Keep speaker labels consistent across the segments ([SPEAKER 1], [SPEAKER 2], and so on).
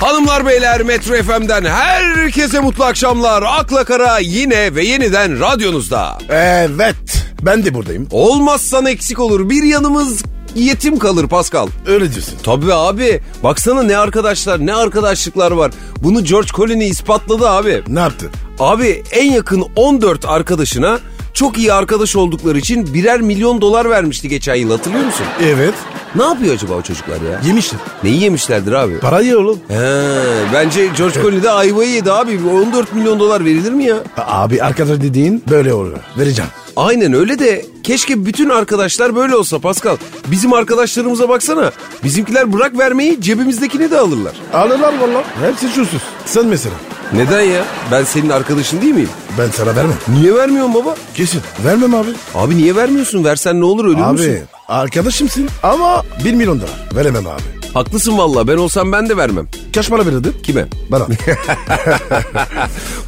[SPEAKER 1] Hanımlar beyler Metro FM'den herkese mutlu akşamlar. Akla Kara yine ve yeniden radyonuzda.
[SPEAKER 2] Evet. Ben de buradayım.
[SPEAKER 1] Olmazsan eksik olur bir yanımız yetim kalır Pascal.
[SPEAKER 2] Öyle diyorsun.
[SPEAKER 1] Tabii abi baksana ne arkadaşlar ne arkadaşlıklar var. Bunu George Clooney ispatladı abi.
[SPEAKER 2] Ne yaptın?
[SPEAKER 1] Abi en yakın 14 arkadaşına çok iyi arkadaş oldukları için birer milyon dolar vermişti geçen yıl hatırlıyor musun?
[SPEAKER 2] Evet.
[SPEAKER 1] Ne yapıyor acaba o çocuklar ya?
[SPEAKER 2] Yemişim.
[SPEAKER 1] Neyi yemişlerdir abi?
[SPEAKER 2] Parayı oğlum.
[SPEAKER 1] He, bence George Clooney de ayvayı yedi abi. 14 milyon dolar verilir mi ya?
[SPEAKER 2] A- Abi arkadaş dediğin böyle olur. Vereceğim.
[SPEAKER 1] Aynen öyle de keşke bütün arkadaşlar böyle olsa Pascal. Bizim arkadaşlarımıza baksana. Bizimkiler bırak vermeyi cebimizdekini de alırlar.
[SPEAKER 2] Alırlar valla. Hepsi çulsuz. Sen mesela.
[SPEAKER 1] Neden ya? Ben senin arkadaşın değil miyim?
[SPEAKER 2] Ben sana vermem.
[SPEAKER 1] Niye vermiyorsun baba?
[SPEAKER 2] Kesin. Vermem abi.
[SPEAKER 1] Abi niye vermiyorsun? Versen ne olur ölür müsün?
[SPEAKER 2] Abi arkadaşımsın ama 1 milyon dolar. Veremem abi.
[SPEAKER 1] Haklısın valla ben olsam ben de vermem.
[SPEAKER 2] Kaç para verirdin?
[SPEAKER 1] Kime?
[SPEAKER 2] Bana.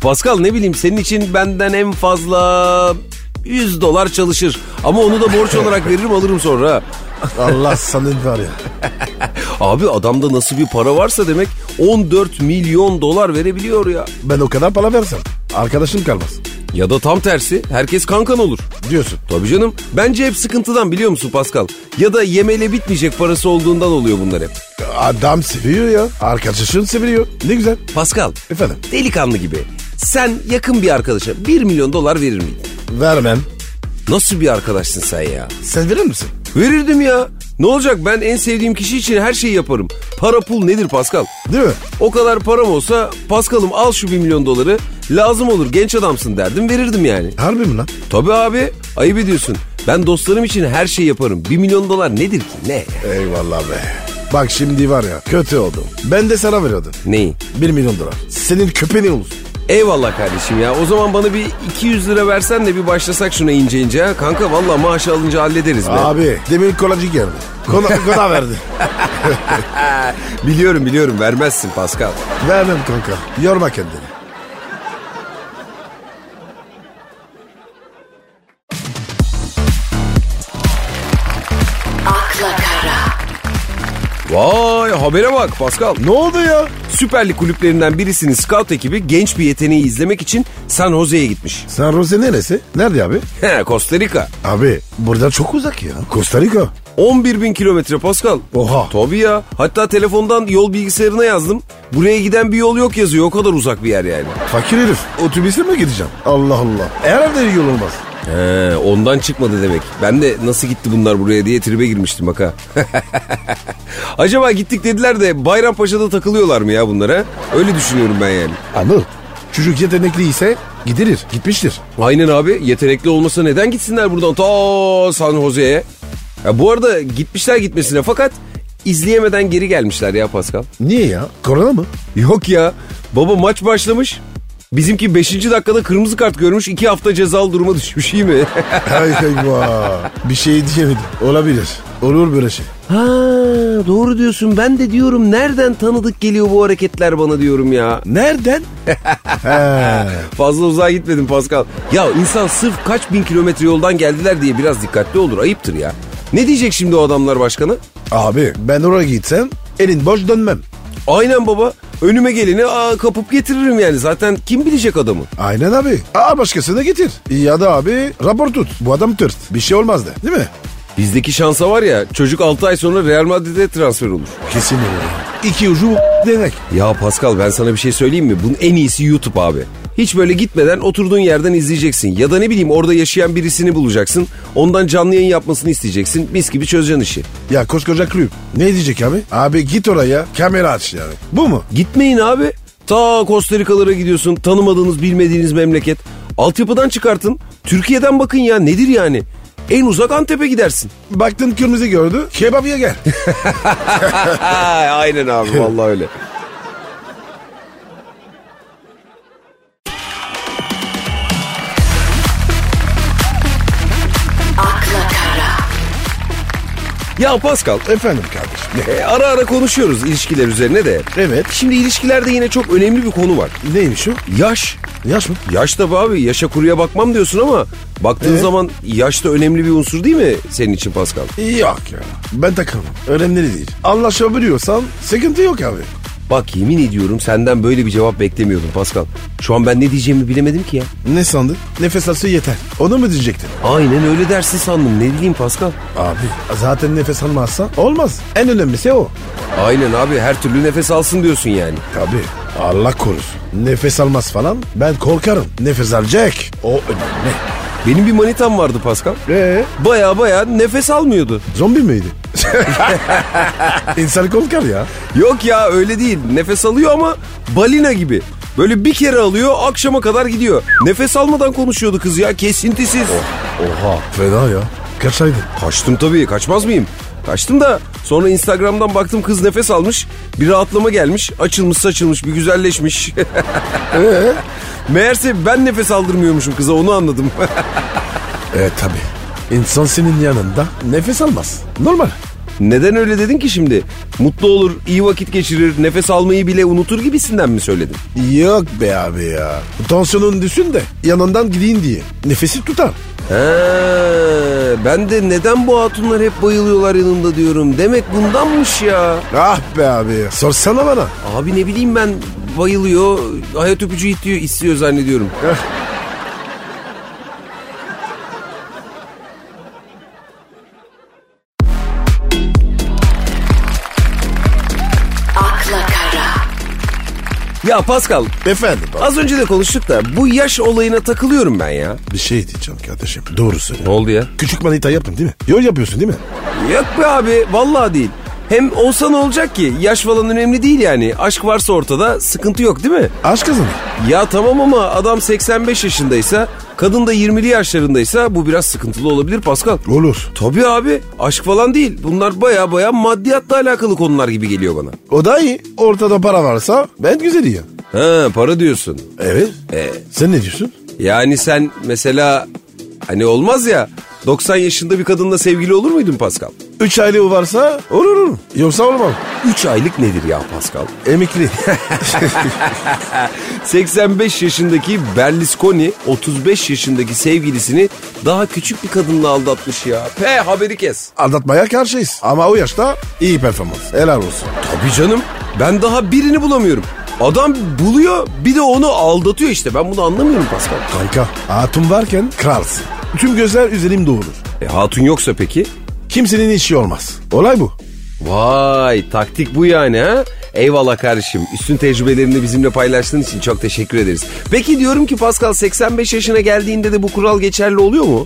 [SPEAKER 1] Pascal ne bileyim senin için benden en fazla 100 dolar çalışır. Ama onu da borç olarak veririm alırım sonra. ha.
[SPEAKER 2] Allah sanın var ya.
[SPEAKER 1] Abi adamda nasıl bir para varsa demek 14 milyon dolar verebiliyor ya.
[SPEAKER 2] Ben o kadar para versem arkadaşım kalmaz.
[SPEAKER 1] Ya da tam tersi herkes kankan olur.
[SPEAKER 2] Diyorsun.
[SPEAKER 1] Tabii canım bence hep sıkıntıdan biliyor musun Pascal? Ya da yemeyle bitmeyecek parası olduğundan oluyor bunlar hep.
[SPEAKER 2] Adam seviyor ya. Arkadaşın seviyor. Ne güzel.
[SPEAKER 1] Pascal
[SPEAKER 2] Efendim.
[SPEAKER 1] delikanlı gibi sen yakın bir arkadaşa 1 milyon dolar verir miydin?
[SPEAKER 2] Vermem.
[SPEAKER 1] Nasıl bir arkadaşsın sen ya?
[SPEAKER 2] Sen verir misin?
[SPEAKER 1] Verirdim ya. Ne olacak ben en sevdiğim kişi için her şeyi yaparım. Para pul nedir Pascal?
[SPEAKER 2] Değil mi?
[SPEAKER 1] O kadar param olsa Pascal'ım al şu 1 milyon doları lazım olur genç adamsın derdim verirdim yani.
[SPEAKER 2] Harbi mi lan?
[SPEAKER 1] Tabii abi ayıp ediyorsun. Ben dostlarım için her şeyi yaparım. 1 milyon dolar nedir ki ne?
[SPEAKER 2] Eyvallah be. Bak şimdi var ya kötü oldum. Ben de sana veriyordum.
[SPEAKER 1] Neyi?
[SPEAKER 2] 1 milyon dolar. Senin köpeğin olur.
[SPEAKER 1] Eyvallah kardeşim ya. O zaman bana bir 200 lira versen de bir başlasak şuna ince ince. ha. Kanka valla maaş alınca hallederiz be.
[SPEAKER 2] Abi demin kolacı geldi. Kona, kona verdi.
[SPEAKER 1] Biliyorum biliyorum vermezsin Pascal.
[SPEAKER 2] Vermem kanka. Yorma kendini.
[SPEAKER 3] akla kara,
[SPEAKER 1] Vay habere bak Pascal.
[SPEAKER 2] Ne oldu ya?
[SPEAKER 1] Süper Lig kulüplerinden birisinin scout ekibi genç bir yeteneği izlemek için San Jose'ye gitmiş.
[SPEAKER 2] San Jose neresi? Nerede abi?
[SPEAKER 1] He Costa Rica.
[SPEAKER 2] Abi burada çok uzak ya. Costa Rica.
[SPEAKER 1] 11 bin kilometre Pascal.
[SPEAKER 2] Oha.
[SPEAKER 1] Tabii ya. Hatta telefondan yol bilgisayarına yazdım. Buraya giden bir yol yok yazıyor. O kadar uzak bir yer yani.
[SPEAKER 2] Fakir herif. Otobüsle mi gideceğim? Allah Allah. Herhalde yol olmaz.
[SPEAKER 1] He, ondan çıkmadı demek. Ben de nasıl gitti bunlar buraya diye tribe girmiştim bak ha. Acaba gittik dediler de Bayrampaşa'da takılıyorlar mı ya bunlara? Öyle düşünüyorum ben yani.
[SPEAKER 2] Anıl. Çocuk yetenekli ise gidilir. Gitmiştir.
[SPEAKER 1] Aynen abi yetenekli olmasa neden gitsinler buradan ta San Jose'ye? Ya bu arada gitmişler gitmesine fakat izleyemeden geri gelmişler ya Pascal.
[SPEAKER 2] Niye ya? Korona mı?
[SPEAKER 1] Yok ya baba maç başlamış. Bizimki 5. dakikada kırmızı kart görmüş 2 hafta cezalı duruma düşmüş iyi mi?
[SPEAKER 2] Ay eyvah. Bir şey diyemedim. Olabilir. Olur böyle şey.
[SPEAKER 1] Ha doğru diyorsun ben de diyorum nereden tanıdık geliyor bu hareketler bana diyorum ya.
[SPEAKER 2] Nereden?
[SPEAKER 1] Fazla uzağa gitmedim Pascal. Ya insan sırf kaç bin kilometre yoldan geldiler diye biraz dikkatli olur ayıptır ya. Ne diyecek şimdi o adamlar başkanı?
[SPEAKER 2] Abi ben oraya gitsem elin boş dönmem.
[SPEAKER 1] Aynen baba önüme geleni aa, kapıp getiririm yani zaten kim bilecek adamı?
[SPEAKER 2] Aynen abi. Aa başkasını getir. Ya da abi rapor tut. Bu adam tırt. Bir şey olmaz de. Değil mi?
[SPEAKER 1] Bizdeki şansa var ya çocuk 6 ay sonra Real Madrid'e transfer olur.
[SPEAKER 2] Kesin öyle. İki ucu denek.
[SPEAKER 1] Ya Pascal ben sana bir şey söyleyeyim mi? Bunun en iyisi YouTube abi. Hiç böyle gitmeden oturduğun yerden izleyeceksin. Ya da ne bileyim orada yaşayan birisini bulacaksın. Ondan canlı yayın yapmasını isteyeceksin. Mis gibi çözeceksin işi.
[SPEAKER 2] Ya koskoca kulüp. Ne diyecek abi? Abi git oraya kamera aç yani. Bu mu?
[SPEAKER 1] Gitmeyin abi. Ta Costa Rica'lara gidiyorsun. Tanımadığınız bilmediğiniz memleket. Altyapıdan çıkartın. Türkiye'den bakın ya nedir yani? En uzak Antep'e gidersin.
[SPEAKER 2] Baktın kırmızı gördü. Kebabıya gel.
[SPEAKER 1] Aynen abi vallahi öyle.
[SPEAKER 3] akla kara,
[SPEAKER 1] Ya Pascal
[SPEAKER 2] Efendim kardeşim. Ne?
[SPEAKER 1] e, ara ara konuşuyoruz ilişkiler üzerine de.
[SPEAKER 2] Evet.
[SPEAKER 1] Şimdi ilişkilerde yine çok önemli bir konu var.
[SPEAKER 2] Neymiş o?
[SPEAKER 1] Yaş.
[SPEAKER 2] Yaş mı?
[SPEAKER 1] Yaş tabii abi yaşa kuruya bakmam diyorsun ama baktığın
[SPEAKER 2] Evet.
[SPEAKER 1] zaman yaş da önemli bir unsur değil mi senin için Pascal?
[SPEAKER 2] Yok ya. Ben takılmam. Önemli değil. Anlaşabiliyorsan sıkıntı yok abi.
[SPEAKER 1] Bak yemin ediyorum senden böyle bir cevap beklemiyordum Pascal. Şu an ben ne diyeceğimi bilemedim ki ya.
[SPEAKER 2] Ne sandın? Nefes alsa yeter. Onu mu diyecektin?
[SPEAKER 1] Aynen öyle dersin sandım. Ne diyeyim Pascal?
[SPEAKER 2] Abi zaten nefes almazsa olmaz. En önemlisi o.
[SPEAKER 1] Aynen abi her türlü nefes alsın diyorsun yani.
[SPEAKER 2] Tabii. Allah korusun. Nefes almaz falan ben korkarım. Nefes alacak. O önemli.
[SPEAKER 1] Benim bir manitam vardı Pascal.
[SPEAKER 2] Ee,
[SPEAKER 1] Baya baya nefes almıyordu.
[SPEAKER 2] zombi miydi? İnsan korkar ya.
[SPEAKER 1] Yok ya öyle değil. Nefes alıyor ama balina gibi. Böyle bir kere alıyor akşama kadar gidiyor. Nefes almadan konuşuyordu kız ya kesintisiz.
[SPEAKER 2] Oha. Fena ya. Kaçaydın.
[SPEAKER 1] Kaçtım tabii kaçmaz mıyım? Kaçtım da sonra Instagram'dan baktım kız nefes almış. Bir rahatlama gelmiş. Açılmış saçılmış bir güzelleşmiş. Ee? Meğerse ben nefes aldırmıyormuşum kıza onu anladım.
[SPEAKER 2] E tabi. İnsan senin yanında nefes almaz. Normal.
[SPEAKER 1] Neden öyle dedin ki şimdi? Mutlu olur, iyi vakit geçirir, nefes almayı bile unutur gibisinden mi söyledin?
[SPEAKER 2] Yok be abi ya. Tansiyonun düşsün de yanından gideyim diye. Nefesi tutar.
[SPEAKER 1] He, ben de neden bu hatunlar hep bayılıyorlar yanımda diyorum. Demek bundanmış ya.
[SPEAKER 2] Ah be abi. Sorsana bana.
[SPEAKER 1] Abi ne bileyim ben bayılıyor, hayat öpücü istiyor, istiyor zannediyorum.
[SPEAKER 3] akla kara,
[SPEAKER 1] Ya Pascal,
[SPEAKER 2] Efendim.
[SPEAKER 1] az önce de konuştuk da bu yaş olayına takılıyorum ben ya.
[SPEAKER 2] Bir şey diyeceğim kardeşim. Doğru söyle.
[SPEAKER 1] oldu ya?
[SPEAKER 2] Küçük manita yaptın değil mi? Yol yapıyorsun değil mi?
[SPEAKER 1] Yok be abi, vallahi değil. Hem olsa ne olacak ki? Yaş falan önemli değil yani. Aşk varsa ortada sıkıntı yok değil mi?
[SPEAKER 2] Aşk kazanır.
[SPEAKER 1] Ya tamam ama adam 85 yaşındaysa, kadın da 20'li yaşlarındaysa bu biraz sıkıntılı olabilir Pascal.
[SPEAKER 2] Olur.
[SPEAKER 1] Tabii abi aşk falan değil. Bunlar baya baya maddiyatla alakalı konular gibi geliyor bana.
[SPEAKER 2] O da iyi. Ortada para varsa ben güzeli ya.
[SPEAKER 1] Ha para diyorsun.
[SPEAKER 2] Evet.
[SPEAKER 1] E,
[SPEAKER 2] Sen ne diyorsun?
[SPEAKER 1] yani sen mesela hani olmaz ya 90 yaşında bir kadınla sevgili olur muydun Pascal?
[SPEAKER 2] Üç aylığı varsa olur olur. Yoksa olmam.
[SPEAKER 1] 3 aylık nedir ya Pascal?
[SPEAKER 2] Emekli.
[SPEAKER 1] 85 yaşındaki Berlusconi 35 yaşındaki sevgilisini daha küçük bir kadınla aldatmış ya. P haberi kes.
[SPEAKER 2] Aldatmaya karşıyız. Ama o yaşta iyi performans. Helal olsun.
[SPEAKER 1] Tabii canım. Ben daha birini bulamıyorum. Adam buluyor bir de onu aldatıyor işte. Ben bunu anlamıyorum Pascal.
[SPEAKER 2] Kanka hatun varken kralsın. Tüm gözler üzerimde olur.
[SPEAKER 1] E, hatun yoksa peki?
[SPEAKER 2] Kimsenin işi olmaz. Olay bu.
[SPEAKER 1] Vay taktik bu yani ha? Eyvallah kardeşim. Üstün tecrübelerini bizimle paylaştığın için çok teşekkür ederiz. Peki diyorum ki Pascal 85 yaşına geldiğinde de bu kural geçerli oluyor mu?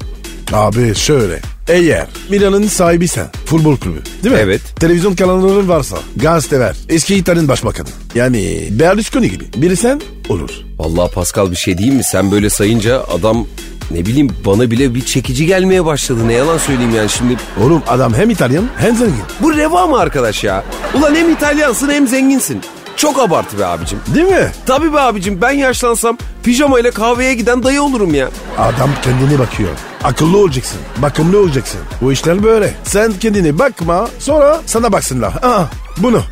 [SPEAKER 2] Abi şöyle. Eğer Milan'ın sahibi sen, futbol kulübü değil mi?
[SPEAKER 1] Evet.
[SPEAKER 2] Televizyon kanalların varsa, gazeteler, eski İtalyan başbakanı. Yani Berlusconi gibi biri sen olur.
[SPEAKER 1] Vallahi Pascal bir şey diyeyim mi? Sen böyle sayınca adam ne bileyim bana bile bir çekici gelmeye başladı. Ne yalan söyleyeyim yani şimdi
[SPEAKER 2] Oğlum adam hem İtalyan hem zengin.
[SPEAKER 1] Bu reva mı arkadaş ya? Ulan hem İtalyansın hem zenginsin. Çok abartı be abicim.
[SPEAKER 2] Değil mi?
[SPEAKER 1] Tabii be abicim ben yaşlansam pijamayla kahveye giden dayı olurum ya.
[SPEAKER 2] Adam kendine bakıyor. Akıllı olacaksın, bakımlı olacaksın. Bu işler böyle. Sen kendine bakma, sonra sana baksınlar. Aa, bunu.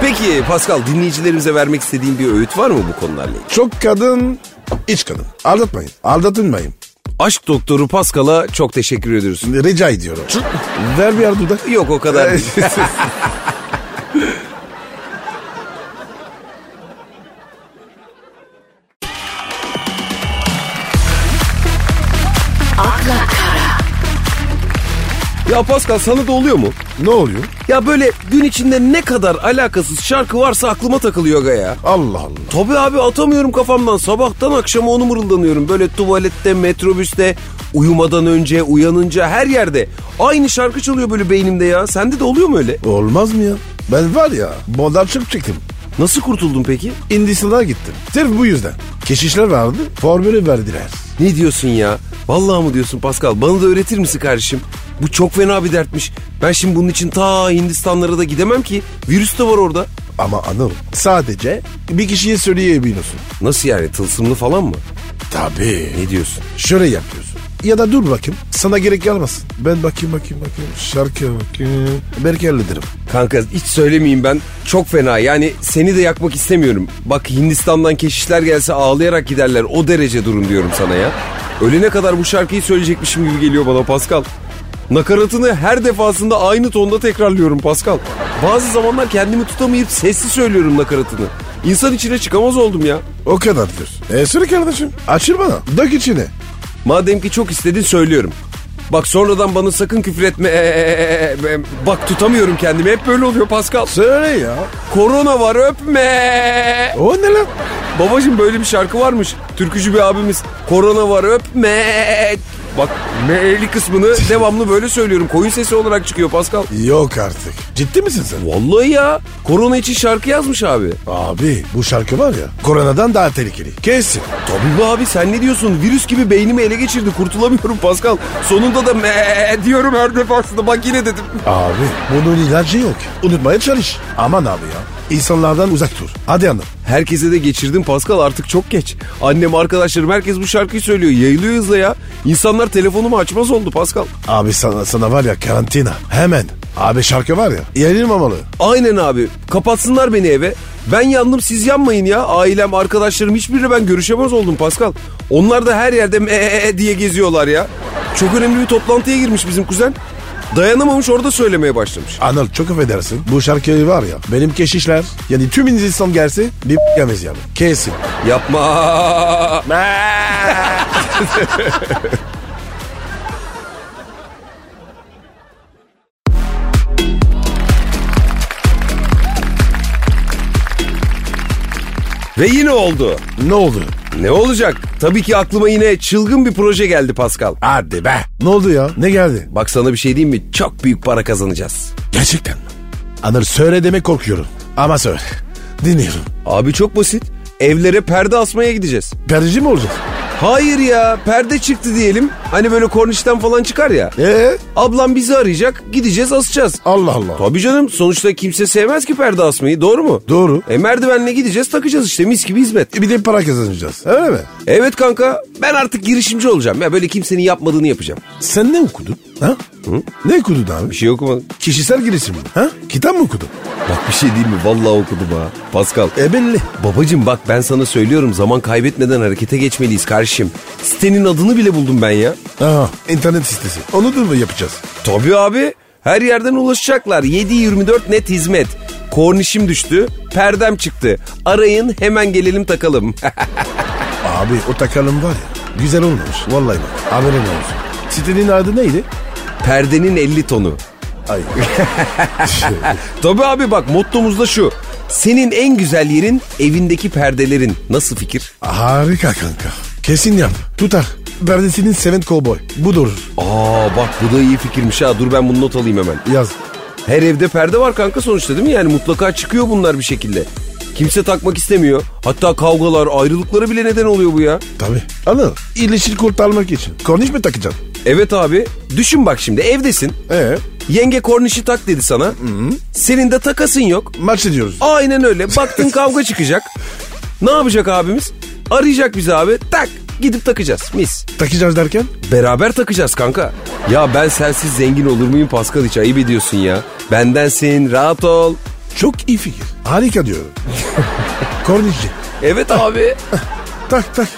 [SPEAKER 1] Peki Pascal dinleyicilerimize vermek istediğin bir öğüt var mı bu konularla ilgili?
[SPEAKER 2] Çok kadın, iç kadın. Aldatmayın, aldatılmayın.
[SPEAKER 1] Aşk doktoru Pascal'a çok teşekkür ediyoruz.
[SPEAKER 2] Rica ediyorum. Çık, Ver bir yer dudak.
[SPEAKER 1] Yok o kadar değil.
[SPEAKER 3] akla kara,
[SPEAKER 1] Ya Pascal sana da oluyor mu?
[SPEAKER 2] ne oluyor?
[SPEAKER 1] Ya böyle gün içinde ne kadar alakasız şarkı varsa aklıma takılıyor aga ya.
[SPEAKER 2] Allah Allah.
[SPEAKER 1] Tabii abi atamıyorum kafamdan. Sabahtan akşama onu mırıldanıyorum. Böyle tuvalette, metrobüste, uyumadan önce, uyanınca her yerde. Aynı şarkı çalıyor böyle beynimde ya. Sende de oluyor mu öyle?
[SPEAKER 2] Olmaz mı ya? Ben var ya bondan çok çıktım.
[SPEAKER 1] Nasıl kurtuldun peki?
[SPEAKER 2] Hindistan'a gittim. Sırf bu yüzden. Keşişler vardı. Formülü verdiler.
[SPEAKER 1] Ne diyorsun ya? Vallahi mı diyorsun Pascal? Bana da öğretir misin kardeşim? Bu çok fena bir dertmiş. Ben şimdi bunun için ta Hindistanlara da gidemem ki. Virüs de var orada.
[SPEAKER 2] Ama Anıl sadece bir kişiye söyleyebiliyorsun.
[SPEAKER 1] Nasıl yani tılsımlı falan mı?
[SPEAKER 2] Tabii.
[SPEAKER 1] Ne diyorsun?
[SPEAKER 2] Şöyle yapıyorsun. Ya da dur bakayım. Sana gerek gelmez. Ben bakayım bakayım bakayım. Şarkıya bakayım. Belki hallederim.
[SPEAKER 1] Kanka hiç söylemeyeyim ben. Çok fena yani seni de yakmak istemiyorum. Bak Hindistan'dan keşişler gelse ağlayarak giderler. O derece durum diyorum sana ya. Ölene kadar bu şarkıyı söyleyecekmişim gibi geliyor bana Pascal. Nakaratını her defasında aynı tonda tekrarlıyorum Pascal. Bazı zamanlar kendimi tutamayıp sesli söylüyorum nakaratını. İnsan içine çıkamaz oldum ya.
[SPEAKER 2] O kadar diyor. E sürü kardeşim. Açır bana. Dök içine.
[SPEAKER 1] Madem ki çok istedin söylüyorum. Bak sonradan bana sakın küfür etme. Ee, ee, ee, ee. Bak tutamıyorum kendimi. Hep böyle oluyor Pascal.
[SPEAKER 2] Söyle ya.
[SPEAKER 1] Korona var öpme.
[SPEAKER 2] O ne lan?
[SPEAKER 1] Babacım böyle bir şarkı varmış. Türkücü bir abimiz. Korona var öpme. Bak me'li kısmını devamlı böyle söylüyorum. Koyun sesi olarak çıkıyor Pascal.
[SPEAKER 2] Yok artık. Ciddi misin sen?
[SPEAKER 1] Vallahi ya. Korona için şarkı yazmış abi.
[SPEAKER 2] Abi bu şarkı var ya koronadan daha tehlikeli. Kesin.
[SPEAKER 1] Tabii be abi sen ne diyorsun? Virüs gibi beynimi ele geçirdi. Kurtulamıyorum Pascal. Sonunda da me diyorum her defasında. Bak yine dedim.
[SPEAKER 2] Abi bunun ilacı yok. Unutmaya çalış. Aman abi ya. İnsanlardan uzak dur. Hadi hanım.
[SPEAKER 1] Herkese de geçirdim Pascal artık çok geç. Annem, arkadaşlarım herkes bu şarkıyı söylüyor. Yayılıyor hızla ya. İnsanlar telefonumu açmaz oldu Pascal.
[SPEAKER 2] Abi sana, sana var ya karantina. Hemen. Abi şarkı var ya yayılmamalı.
[SPEAKER 1] Aynen abi. Kapatsınlar beni eve. Ben yandım siz yanmayın ya. Ailem, arkadaşlarım hiçbiriyle ben görüşemez oldum Pascal. Onlar da her yerde me e" diye geziyorlar ya. Çok önemli bir toplantıya girmiş bizim kuzen. Dayanamamış orada söylemeye başlamış.
[SPEAKER 2] Anıl çok affedersin. Bu şarkıyı var ya benim keşişler yani tüm insan gelse bir yemez yani. Kesin.
[SPEAKER 1] Yapma. Ve yine oldu.
[SPEAKER 2] Ne oldu?
[SPEAKER 1] Ne olacak? Tabii ki aklıma yine çılgın bir proje geldi Pascal.
[SPEAKER 2] Hadi be. Ne oldu ya? Ne geldi?
[SPEAKER 1] Bak sana bir şey diyeyim mi? Çok büyük para kazanacağız.
[SPEAKER 2] Gerçekten mi? Anıl söyle demek korkuyorum. Ama söyle. Dinliyorum.
[SPEAKER 1] Abi çok basit. Evlere perde asmaya gideceğiz.
[SPEAKER 2] Perici mi olacak?
[SPEAKER 1] Hayır ya perde çıktı diyelim. Hani böyle kornişten falan çıkar ya.
[SPEAKER 2] Ee?
[SPEAKER 1] Ablam bizi arayacak gideceğiz asacağız.
[SPEAKER 2] Allah Allah.
[SPEAKER 1] Tabii canım sonuçta kimse sevmez ki perde asmayı doğru mu?
[SPEAKER 2] Doğru.
[SPEAKER 1] E merdivenle gideceğiz takacağız işte mis gibi hizmet.
[SPEAKER 2] E, Bir de para kazanacağız. Öyle mi?
[SPEAKER 1] Evet kanka ben artık girişimci olacağım. Ya böyle kimsenin yapmadığını yapacağım.
[SPEAKER 2] Sen ne okudun? Ha? Ne okudun abi?
[SPEAKER 1] Bir şey okumadım.
[SPEAKER 2] Kişisel gelişim mi? Ha? Kitap mı okudun?
[SPEAKER 1] Bak bir şey diyeyim mi? Vallahi okudum ha. Pascal.
[SPEAKER 2] E belli.
[SPEAKER 1] Babacım bak ben sana söylüyorum zaman kaybetmeden harekete geçmeliyiz kardeşim. Sitenin adını bile buldum ben ya.
[SPEAKER 2] Aha, internet sitesi. Onu da mı yapacağız?
[SPEAKER 1] Tabii abi. Her yerden ulaşacaklar. 7-24 net hizmet. Kornişim düştü. Perdem çıktı. Arayın hemen gelelim takalım.
[SPEAKER 2] Abi o takalım var ya. Güzel olmamış. Vallahi bak. Haberin olsun. Sitenin adı neydi?
[SPEAKER 1] Perdenin 50 tonu.
[SPEAKER 2] Ay.
[SPEAKER 1] Tabii abi bak mottomuz da şu. Senin en güzel yerin evindeki perdelerin. Nasıl fikir?
[SPEAKER 2] Harika kanka. Kesin yap. Tutar. Berdesinin seven kovboy. Budur.
[SPEAKER 1] Aa bak bu da iyi fikirmiş ha. Dur ben bunu not alayım hemen.
[SPEAKER 2] Yaz.
[SPEAKER 1] Her evde perde var kanka sonuçta değil mi? Yani mutlaka çıkıyor bunlar bir şekilde. Kimse takmak istemiyor. Hatta kavgalar, ayrılıklara bile neden oluyor bu ya.
[SPEAKER 2] Tabii. Anıl. İyileşir kurtarmak için. Korniş mi takacaksın?
[SPEAKER 1] Evet abi. Düşün bak şimdi evdesin.
[SPEAKER 2] Ee,
[SPEAKER 1] Yenge kornişi tak dedi sana. Senin de takasın yok.
[SPEAKER 2] maç ediyoruz.
[SPEAKER 1] Aynen öyle. Baktın kavga çıkacak. Ne yapacak abimiz? Arayacak bizi abi. Tak. Gidip takacağız. Mis.
[SPEAKER 2] Takacağız derken?
[SPEAKER 1] Beraber takacağız kanka. Ya ben sensiz zengin olur muyum Pascal hiç ayıp ediyorsun ya. Bendensin rahat ol.
[SPEAKER 2] Çok iyi fikir. Harika diyorum. Kornişçi.
[SPEAKER 1] Evet abi.
[SPEAKER 2] Tak tak.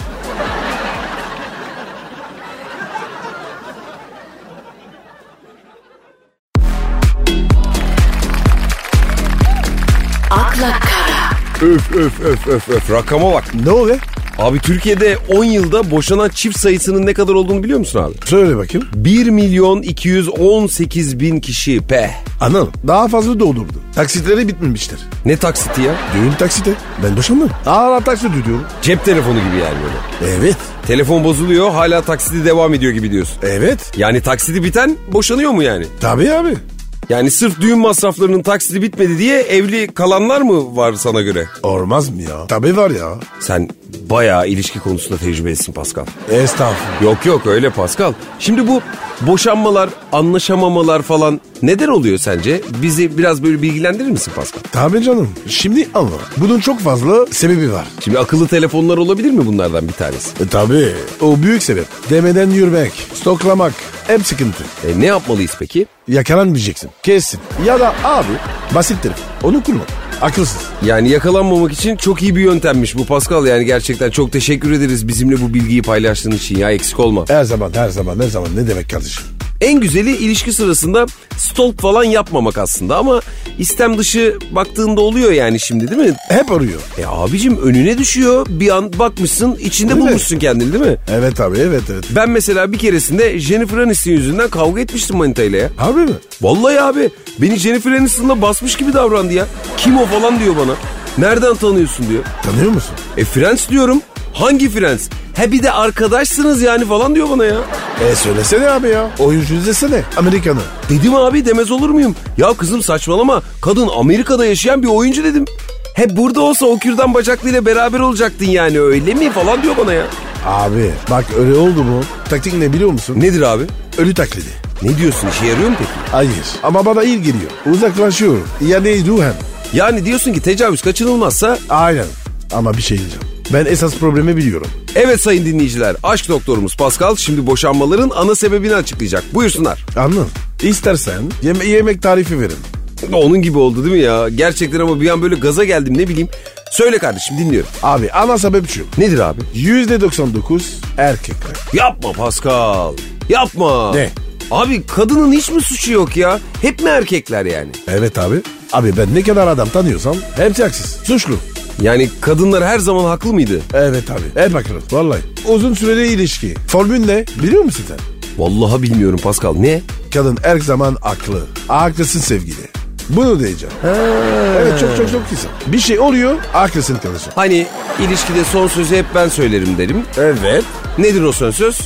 [SPEAKER 3] akla kara,
[SPEAKER 1] öf öf öf öf öf rakama bak.
[SPEAKER 2] Ne o be?
[SPEAKER 1] Abi Türkiye'de 10 yılda boşanan çift sayısının ne kadar olduğunu biliyor musun abi?
[SPEAKER 2] Söyle bakayım.
[SPEAKER 1] 1 milyon 218 bin kişi pe.
[SPEAKER 2] Anıl daha fazla doldurdu. Taksitleri bitmemiştir.
[SPEAKER 1] Ne taksiti ya?
[SPEAKER 2] Düğün taksiti. Ben boşandım. Hala taksit ödüyorum.
[SPEAKER 1] Cep telefonu gibi yani böyle.
[SPEAKER 2] Evet.
[SPEAKER 1] Telefon bozuluyor hala taksidi devam ediyor gibi diyorsun.
[SPEAKER 2] Evet.
[SPEAKER 1] Yani taksidi biten boşanıyor mu yani?
[SPEAKER 2] Tabii abi.
[SPEAKER 1] Yani sırf düğün masraflarının taksidi bitmedi diye evli kalanlar mı var sana göre?
[SPEAKER 2] Olmaz mı ya? Tabii var ya.
[SPEAKER 1] Sen bayağı ilişki konusunda tecrübelisin Pascal.
[SPEAKER 2] Estağfurullah.
[SPEAKER 1] Yok yok öyle Pascal. Şimdi bu boşanmalar, anlaşamamalar falan neden oluyor sence? Bizi biraz böyle bilgilendirir misin Pascal?
[SPEAKER 2] Tabii canım. Şimdi ama bunun çok fazla sebebi var.
[SPEAKER 1] Şimdi akıllı telefonlar olabilir mi bunlardan bir tanesi?
[SPEAKER 2] E tabii. O büyük sebep. Demeden yürümek, stoklamak hep sıkıntı.
[SPEAKER 1] E, ne yapmalıyız peki?
[SPEAKER 2] Yakalanmayacaksın. Kesin. Ya da abi basit telefon. Onu kullan. Akılsız.
[SPEAKER 1] Yani yakalanmamak için çok iyi bir yöntemmiş bu Pascal. Yani gerçekten çok teşekkür ederiz bizimle bu bilgiyi paylaştığın için ya eksik olma.
[SPEAKER 2] Her zaman her zaman her zaman ne demek kardeşim.
[SPEAKER 1] En güzeli ilişki sırasında stalk falan yapmamak aslında ama istem dışı baktığında oluyor yani şimdi değil mi?
[SPEAKER 2] Hep arıyor.
[SPEAKER 1] E abicim önüne düşüyor bir an bakmışsın içinde
[SPEAKER 2] Değil mi?
[SPEAKER 1] bulmuşsun kendini değil mi?
[SPEAKER 2] Evet abi evet evet.
[SPEAKER 1] Ben mesela bir keresinde Jennifer Aniston yüzünden kavga etmiştim Manita ile ya.
[SPEAKER 2] Harbi mi?
[SPEAKER 1] Vallahi abi beni Jennifer Aniston'la basmış gibi davrandı ya. Kim o falan diyor bana. Nereden tanıyorsun diyor.
[SPEAKER 2] Tanıyor musun?
[SPEAKER 1] E Friends diyorum. Hangi Friends? He bir de arkadaşsınız yani falan diyor bana ya.
[SPEAKER 2] E söylesene abi ya. Oyuncu desene Amerikanı.
[SPEAKER 1] Dedim abi demez olur muyum? Ya kızım saçmalama. Kadın Amerika'da yaşayan bir oyuncu dedim. He burada olsa o kürdan bacaklıyla beraber olacaktın yani öyle mi falan diyor bana ya.
[SPEAKER 2] Abi bak öyle oldu mu? Taktik ne biliyor musun?
[SPEAKER 1] Nedir abi?
[SPEAKER 2] Ölü taklidi.
[SPEAKER 1] Ne diyorsun işe yarıyor mu peki?
[SPEAKER 2] Hayır. Ama bana iyi geliyor. Uzaklaşıyorum. Yani ruhen.
[SPEAKER 1] Yani diyorsun ki tecavüz kaçınılmazsa
[SPEAKER 2] Aynen. Ama bir şey diyeceğim. Ben esas problemi biliyorum.
[SPEAKER 1] Evet sayın dinleyiciler aşk doktorumuz Pascal şimdi boşanmaların ana sebebini açıklayacak. Buyursunlar.
[SPEAKER 2] Anladın? İstersen yeme- yemek tarifi verin.
[SPEAKER 1] Onun gibi oldu değil mi ya? Gerçekten ama bir an böyle gaza geldim ne bileyim. Söyle kardeşim dinliyorum.
[SPEAKER 2] Abi ana sebep şu.
[SPEAKER 1] Nedir abi?
[SPEAKER 2] %99 erkekler.
[SPEAKER 1] Yapma Pascal. Yapma.
[SPEAKER 2] Ne?
[SPEAKER 1] Abi kadının hiç mi suçu yok ya? Hep mi erkekler yani?
[SPEAKER 2] Evet abi. Abi ben ne kadar adam tanıyorsam hepsi haksız. Suçlu.
[SPEAKER 1] Yani kadınlar her zaman haklı mıydı?
[SPEAKER 2] Evet abi. Hep haklı. Vallahi. Uzun süreli ilişki. Formül ne? Biliyor musun sen?
[SPEAKER 1] Vallahi bilmiyorum Pascal. Ne?
[SPEAKER 2] Kadın her zaman aklı. Haklısın sevgili. Bunu diyeceğim. Evet çok çok çok güzel. Bir şey oluyor haklısın kardeşim.
[SPEAKER 1] Hani ilişkide son sözü hep ben söylerim derim.
[SPEAKER 2] Evet.
[SPEAKER 1] Nedir o son söz?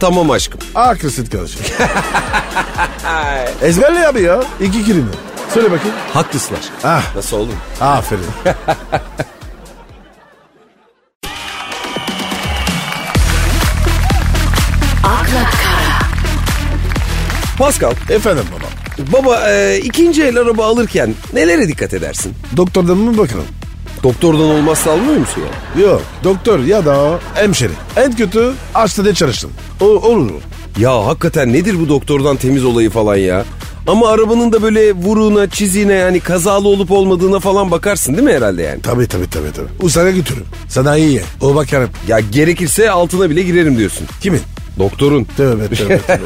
[SPEAKER 1] Tamam aşkım.
[SPEAKER 2] Haklısın kardeşim. Ezberle abi ya. İki kelime. Söyle bakayım.
[SPEAKER 1] Haklısınlar.
[SPEAKER 2] Ah.
[SPEAKER 1] Nasıl oğlum?
[SPEAKER 2] Aferin.
[SPEAKER 3] akla kara,
[SPEAKER 1] Pascal,
[SPEAKER 2] Efendim baba.
[SPEAKER 1] baba e, ikinci el araba alırken nelere dikkat edersin?
[SPEAKER 2] Doktordan mı bakalım?
[SPEAKER 1] Doktordan olmazsa almıyor musun ya?
[SPEAKER 2] Yok. Doktor ya da hemşeri. En kötü hastanede çalıştım. O, olur.
[SPEAKER 1] Ya hakikaten nedir bu doktordan temiz olayı falan ya? Ama arabanın da böyle vuruğuna, çiziğine yani kazalı olup olmadığına falan bakarsın değil mi herhalde yani?
[SPEAKER 2] Tabii tabii tabii tabii. Uzana götürürüm. Sana iyi ye. O bakarım.
[SPEAKER 1] Ya gerekirse altına bile girerim diyorsun.
[SPEAKER 2] Kimin?
[SPEAKER 1] Doktorun.
[SPEAKER 2] Tövbe tövbe tövbe.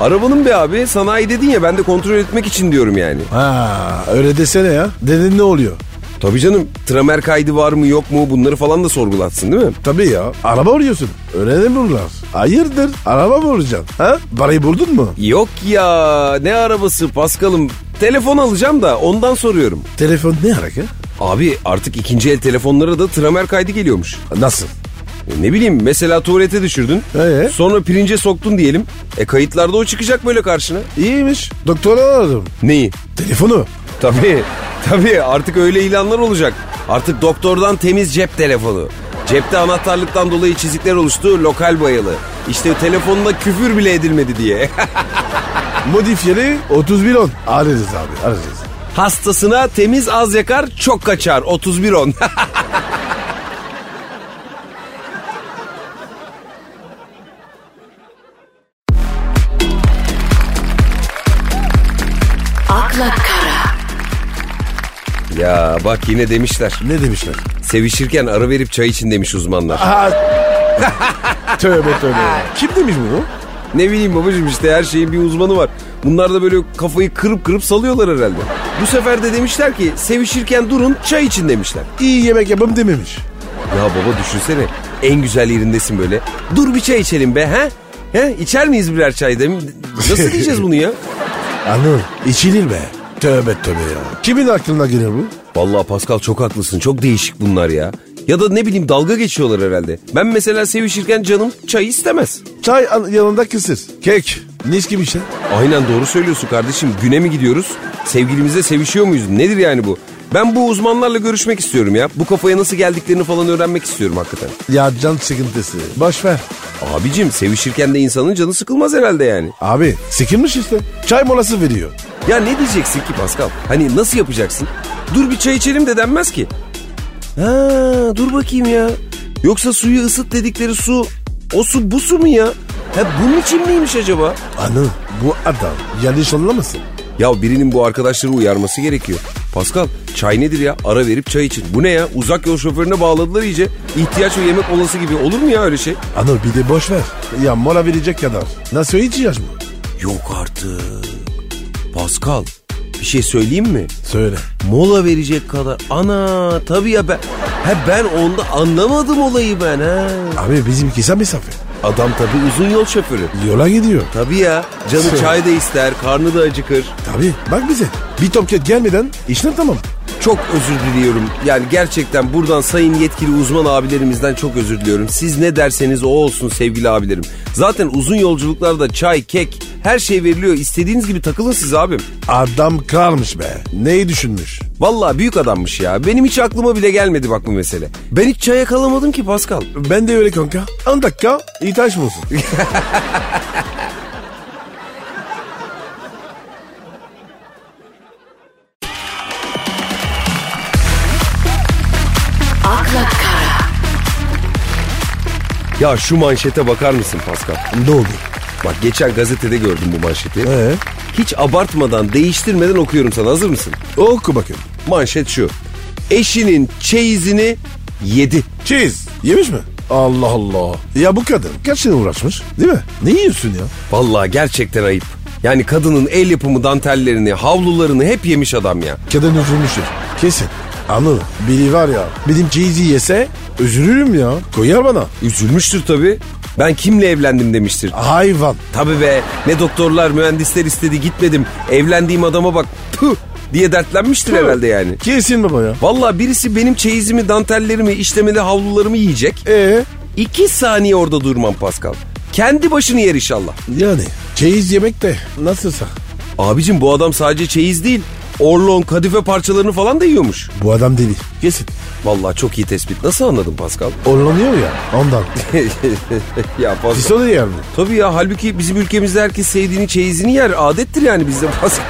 [SPEAKER 1] Arabanın be abi sanayi dedin ya ben de kontrol etmek için diyorum yani.
[SPEAKER 2] ha, öyle desene ya. Dedin ne oluyor?
[SPEAKER 1] Tabii canım tramer kaydı var mı yok mu bunları falan da sorgulatsın değil mi?
[SPEAKER 2] Tabii ya. Araba oluyorsun. Öyle mi bunlar? Hayırdır? Araba mı olacaksın? Ha? Parayı buldun mu?
[SPEAKER 1] Yok ya ne arabası Paskal'ım telefon alacağım da ondan soruyorum.
[SPEAKER 2] Telefon ne hareket?
[SPEAKER 1] Abi artık ikinci el telefonlara da tramer kaydı geliyormuş.
[SPEAKER 2] Nasıl?
[SPEAKER 1] E, Ne bileyim mesela tuvalete düşürdün.
[SPEAKER 2] Ee?
[SPEAKER 1] Sonra pirince soktun diyelim. E kayıtlarda o çıkacak böyle karşına.
[SPEAKER 2] İyiymiş. Doktora aradım.
[SPEAKER 1] Neyi?
[SPEAKER 2] Telefonu.
[SPEAKER 1] Tabii. Tabii artık öyle ilanlar olacak. Artık doktordan temiz cep telefonu. Cepte anahtarlıktan dolayı çizikler oluştu lokal bayalı. İşte telefonda küfür bile edilmedi diye.
[SPEAKER 2] Modifiyeli 3110. Ararız abi ararız.
[SPEAKER 1] Hastasına temiz az yakar çok kaçar 3110.
[SPEAKER 3] akla kara,
[SPEAKER 1] ya bak yine demişler.
[SPEAKER 2] Ne demişler?
[SPEAKER 1] Sevişirken ara verip çay için demiş uzmanlar.
[SPEAKER 2] Aha. tövbe tövbe. Kim demiş bunu?
[SPEAKER 1] Ne bileyim babacığım işte her şeyin bir uzmanı var. Bunlar da böyle kafayı kırıp kırıp salıyorlar herhalde. Bu sefer de demişler ki sevişirken durun çay için demişler.
[SPEAKER 2] İyi yemek yapım dememiş.
[SPEAKER 1] Ya baba düşünsene en güzel yerindesin böyle. Dur bir çay içelim be he? He içer miyiz birer çay dem? Nasıl diyeceğiz bunu ya?
[SPEAKER 2] Anıl içilir be. Tövbe tövbe ya. Kimin aklına gelir bu?
[SPEAKER 1] Vallahi Pascal çok haklısın çok değişik bunlar ya. Ya da ne bileyim dalga geçiyorlar herhalde. Ben mesela sevişirken canım çay istemez.
[SPEAKER 2] Çay an- yanında kısır. Kek. Nis gibi şey. işte.
[SPEAKER 1] Aynen doğru söylüyorsun kardeşim. Güne mi gidiyoruz? Sevgilimizle sevişiyor muyuz? Nedir yani bu? Ben bu uzmanlarla görüşmek istiyorum ya. Bu kafaya nasıl geldiklerini falan öğrenmek istiyorum hakikaten.
[SPEAKER 2] Ya can sıkıntısı. Boş ver.
[SPEAKER 1] Abicim sevişirken de insanın canı sıkılmaz herhalde yani.
[SPEAKER 2] Abi sıkılmış işte. Çay molası veriyor.
[SPEAKER 1] Ya ne diyeceksin ki Pascal? Hani nasıl yapacaksın? Dur bir çay içelim de denmez ki. Ha, dur bakayım ya. Yoksa suyu ısıt dedikleri su o su bu su mu ya? Ha bunun için miymiş acaba?
[SPEAKER 2] Anıl bu adam yanlış anlamasın.
[SPEAKER 1] Ya birinin bu arkadaşları uyarması gerekiyor. Pascal çay nedir ya? Ara verip çay için. Bu ne ya? Uzak yol şoförüne bağladılar iyice. İhtiyaç ve yemek olası gibi olur mu ya öyle şey?
[SPEAKER 2] Anıl bir de boş ver. Ya mola verecek kadar. Nasıl ihtiyaç mı?
[SPEAKER 1] Yok artık. Pascal bir şey söyleyeyim mi?
[SPEAKER 2] Söyle.
[SPEAKER 1] Mola verecek kadar. Ana tabii ya ben. He ben onda anlamadım olayı ben ha.
[SPEAKER 2] Abi bizimki sen misafir.
[SPEAKER 1] Adam tabii uzun yol şoförü.
[SPEAKER 2] Yola gidiyor.
[SPEAKER 1] Tabii ya. Canı çay da ister, karnı da acıkır.
[SPEAKER 2] Tabii bak bize. Bir tomket gelmeden işler tamam.
[SPEAKER 1] Çok özür diliyorum. Yani gerçekten buradan sayın yetkili uzman abilerimizden çok özür diliyorum. Siz ne derseniz o olsun sevgili abilerim. Zaten uzun yolculuklarda çay, kek her şey veriliyor. İstediğiniz gibi takılın siz abim.
[SPEAKER 2] Adam kalmış be. Neyi düşünmüş?
[SPEAKER 1] Vallahi büyük adammış ya. Benim hiç aklıma bile gelmedi bak bu mesele. Ben hiç çaya kalamadım ki Pascal.
[SPEAKER 2] Ben de öyle kanka. 10 dakika ihtiyaç mı olsun?
[SPEAKER 3] akla kara,
[SPEAKER 1] Ya şu manşete bakar mısın Pascal?
[SPEAKER 2] ne oldu?
[SPEAKER 1] Bak geçen gazetede gördüm bu manşeti.
[SPEAKER 2] Ee?
[SPEAKER 1] Hiç abartmadan, değiştirmeden okuyorum sana. Hazır mısın?
[SPEAKER 2] Oku bakayım.
[SPEAKER 1] Manşet şu. Eşinin çeyizini yedi.
[SPEAKER 2] Cheese. Yemiş mi? Allah Allah. Ya bu kadın kaç yıl uğraşmış değil mi? Ne yiyorsun ya?
[SPEAKER 1] Vallahi gerçekten ayıp. Yani kadının el yapımı dantellerini, havlularını hep yemiş adam ya.
[SPEAKER 2] Kadın üzülmüştür. Kesin. Anıl biri var ya benim cheese'i yese üzülürüm ya. Koyar bana.
[SPEAKER 1] Üzülmüştür tabii. Ben kimle evlendim demiştir.
[SPEAKER 2] Hayvan.
[SPEAKER 1] Tabii be ne doktorlar mühendisler istedi gitmedim. Evlendiğim adama bak tüh diye dertlenmiştir herhalde yani.
[SPEAKER 2] Kesin baba ya.
[SPEAKER 1] Vallahi birisi benim çeyizimi, dantellerimi, işlemeli havlularımı yiyecek.
[SPEAKER 2] Ee
[SPEAKER 1] İki saniye orada durmam Pascal. Kendi başını yer inşallah.
[SPEAKER 2] yani cheese yemek de nasılsa.
[SPEAKER 1] Abicim bu adam sadece çeyiz değil. Orlon, kadife parçalarını falan da yiyormuş.
[SPEAKER 2] Bu adam deli. Kesin.
[SPEAKER 1] Vallahi çok iyi tespit. Nasıl anladın Pascal?
[SPEAKER 2] Orlanıyor ya ondan.
[SPEAKER 1] ya Pascal.
[SPEAKER 2] Pisonu yer mi?
[SPEAKER 1] Tabii ya halbuki bizim ülkemizde herkes sevdiğini çeyizini yer. Adettir yani bizde Pascal.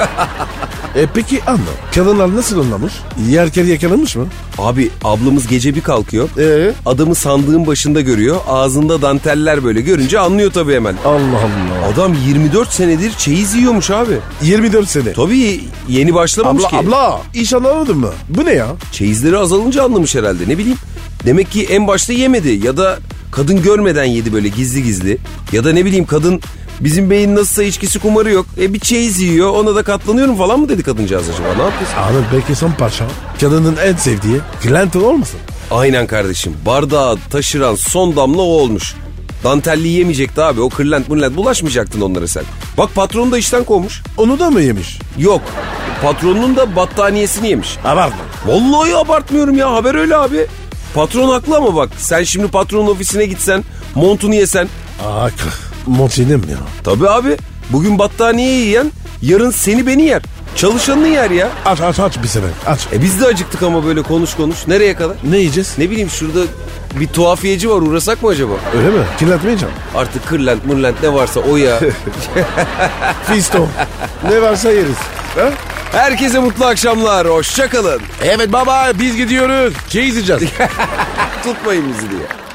[SPEAKER 2] E peki anla. Kadınlar nasıl anlamış? Yerken yakalanmış mı?
[SPEAKER 1] Abi ablamız gece bir kalkıyor. E,
[SPEAKER 2] Ee?
[SPEAKER 1] Adamı sandığın başında görüyor. Ağzında danteller böyle görünce anlıyor tabii hemen.
[SPEAKER 2] Allah Allah.
[SPEAKER 1] Adam 24 senedir çeyiz yiyormuş abi.
[SPEAKER 2] 24 sene.
[SPEAKER 1] Tabii yeni başlamamış
[SPEAKER 2] Abla
[SPEAKER 1] ki.
[SPEAKER 2] abla iş anlamadın mı? Bu ne ya?
[SPEAKER 1] Çeyizleri azalınca anlamış herhalde ne bileyim. Demek ki en başta yemedi ya da kadın görmeden yedi böyle gizli gizli. Ya da ne bileyim kadın bizim beyin nasılsa içkisi kumarı yok. E bir çeyiz yiyor ona da katlanıyorum falan mı dedi kadıncağız acaba ne yapıyorsun?
[SPEAKER 2] Abi belki son parça. Kadının en sevdiği. Clinton olmasın?
[SPEAKER 1] Aynen kardeşim bardağı taşıran son damla o olmuş. Dantelli yemeyecekti abi o kırlent mırlent bulaşmayacaktın onlara sen. Bak patronu da işten kovmuş.
[SPEAKER 2] Onu da mı yemiş?
[SPEAKER 1] Yok patronunun da battaniyesini yemiş.
[SPEAKER 2] Abartma.
[SPEAKER 1] Vallahi abartmıyorum ya haber öyle abi. Patron haklı ama bak sen şimdi patronun ofisine gitsen montunu yesen.
[SPEAKER 2] Aa kıh. Montinim ya.
[SPEAKER 1] Tabii abi bugün battaniye yiyen yarın seni beni yer. Çalışanını yer ya.
[SPEAKER 2] Aç aç aç bir sefer aç.
[SPEAKER 1] E biz de acıktık ama böyle konuş konuş. Nereye kadar?
[SPEAKER 2] Ne yiyeceğiz?
[SPEAKER 1] Ne bileyim şurada bir tuhafiyeci var uğrasak mı acaba?
[SPEAKER 2] Öyle mi? Kirletmeyeceğim.
[SPEAKER 1] Artık kırlent mırlent ne varsa o ya.
[SPEAKER 2] Fiston. ne varsa yeriz. Ha?
[SPEAKER 1] Herkese mutlu akşamlar. Hoşçakalın.
[SPEAKER 2] Evet baba biz gidiyoruz. Şey izleyeceğiz.
[SPEAKER 1] Tutmayın bizi diye.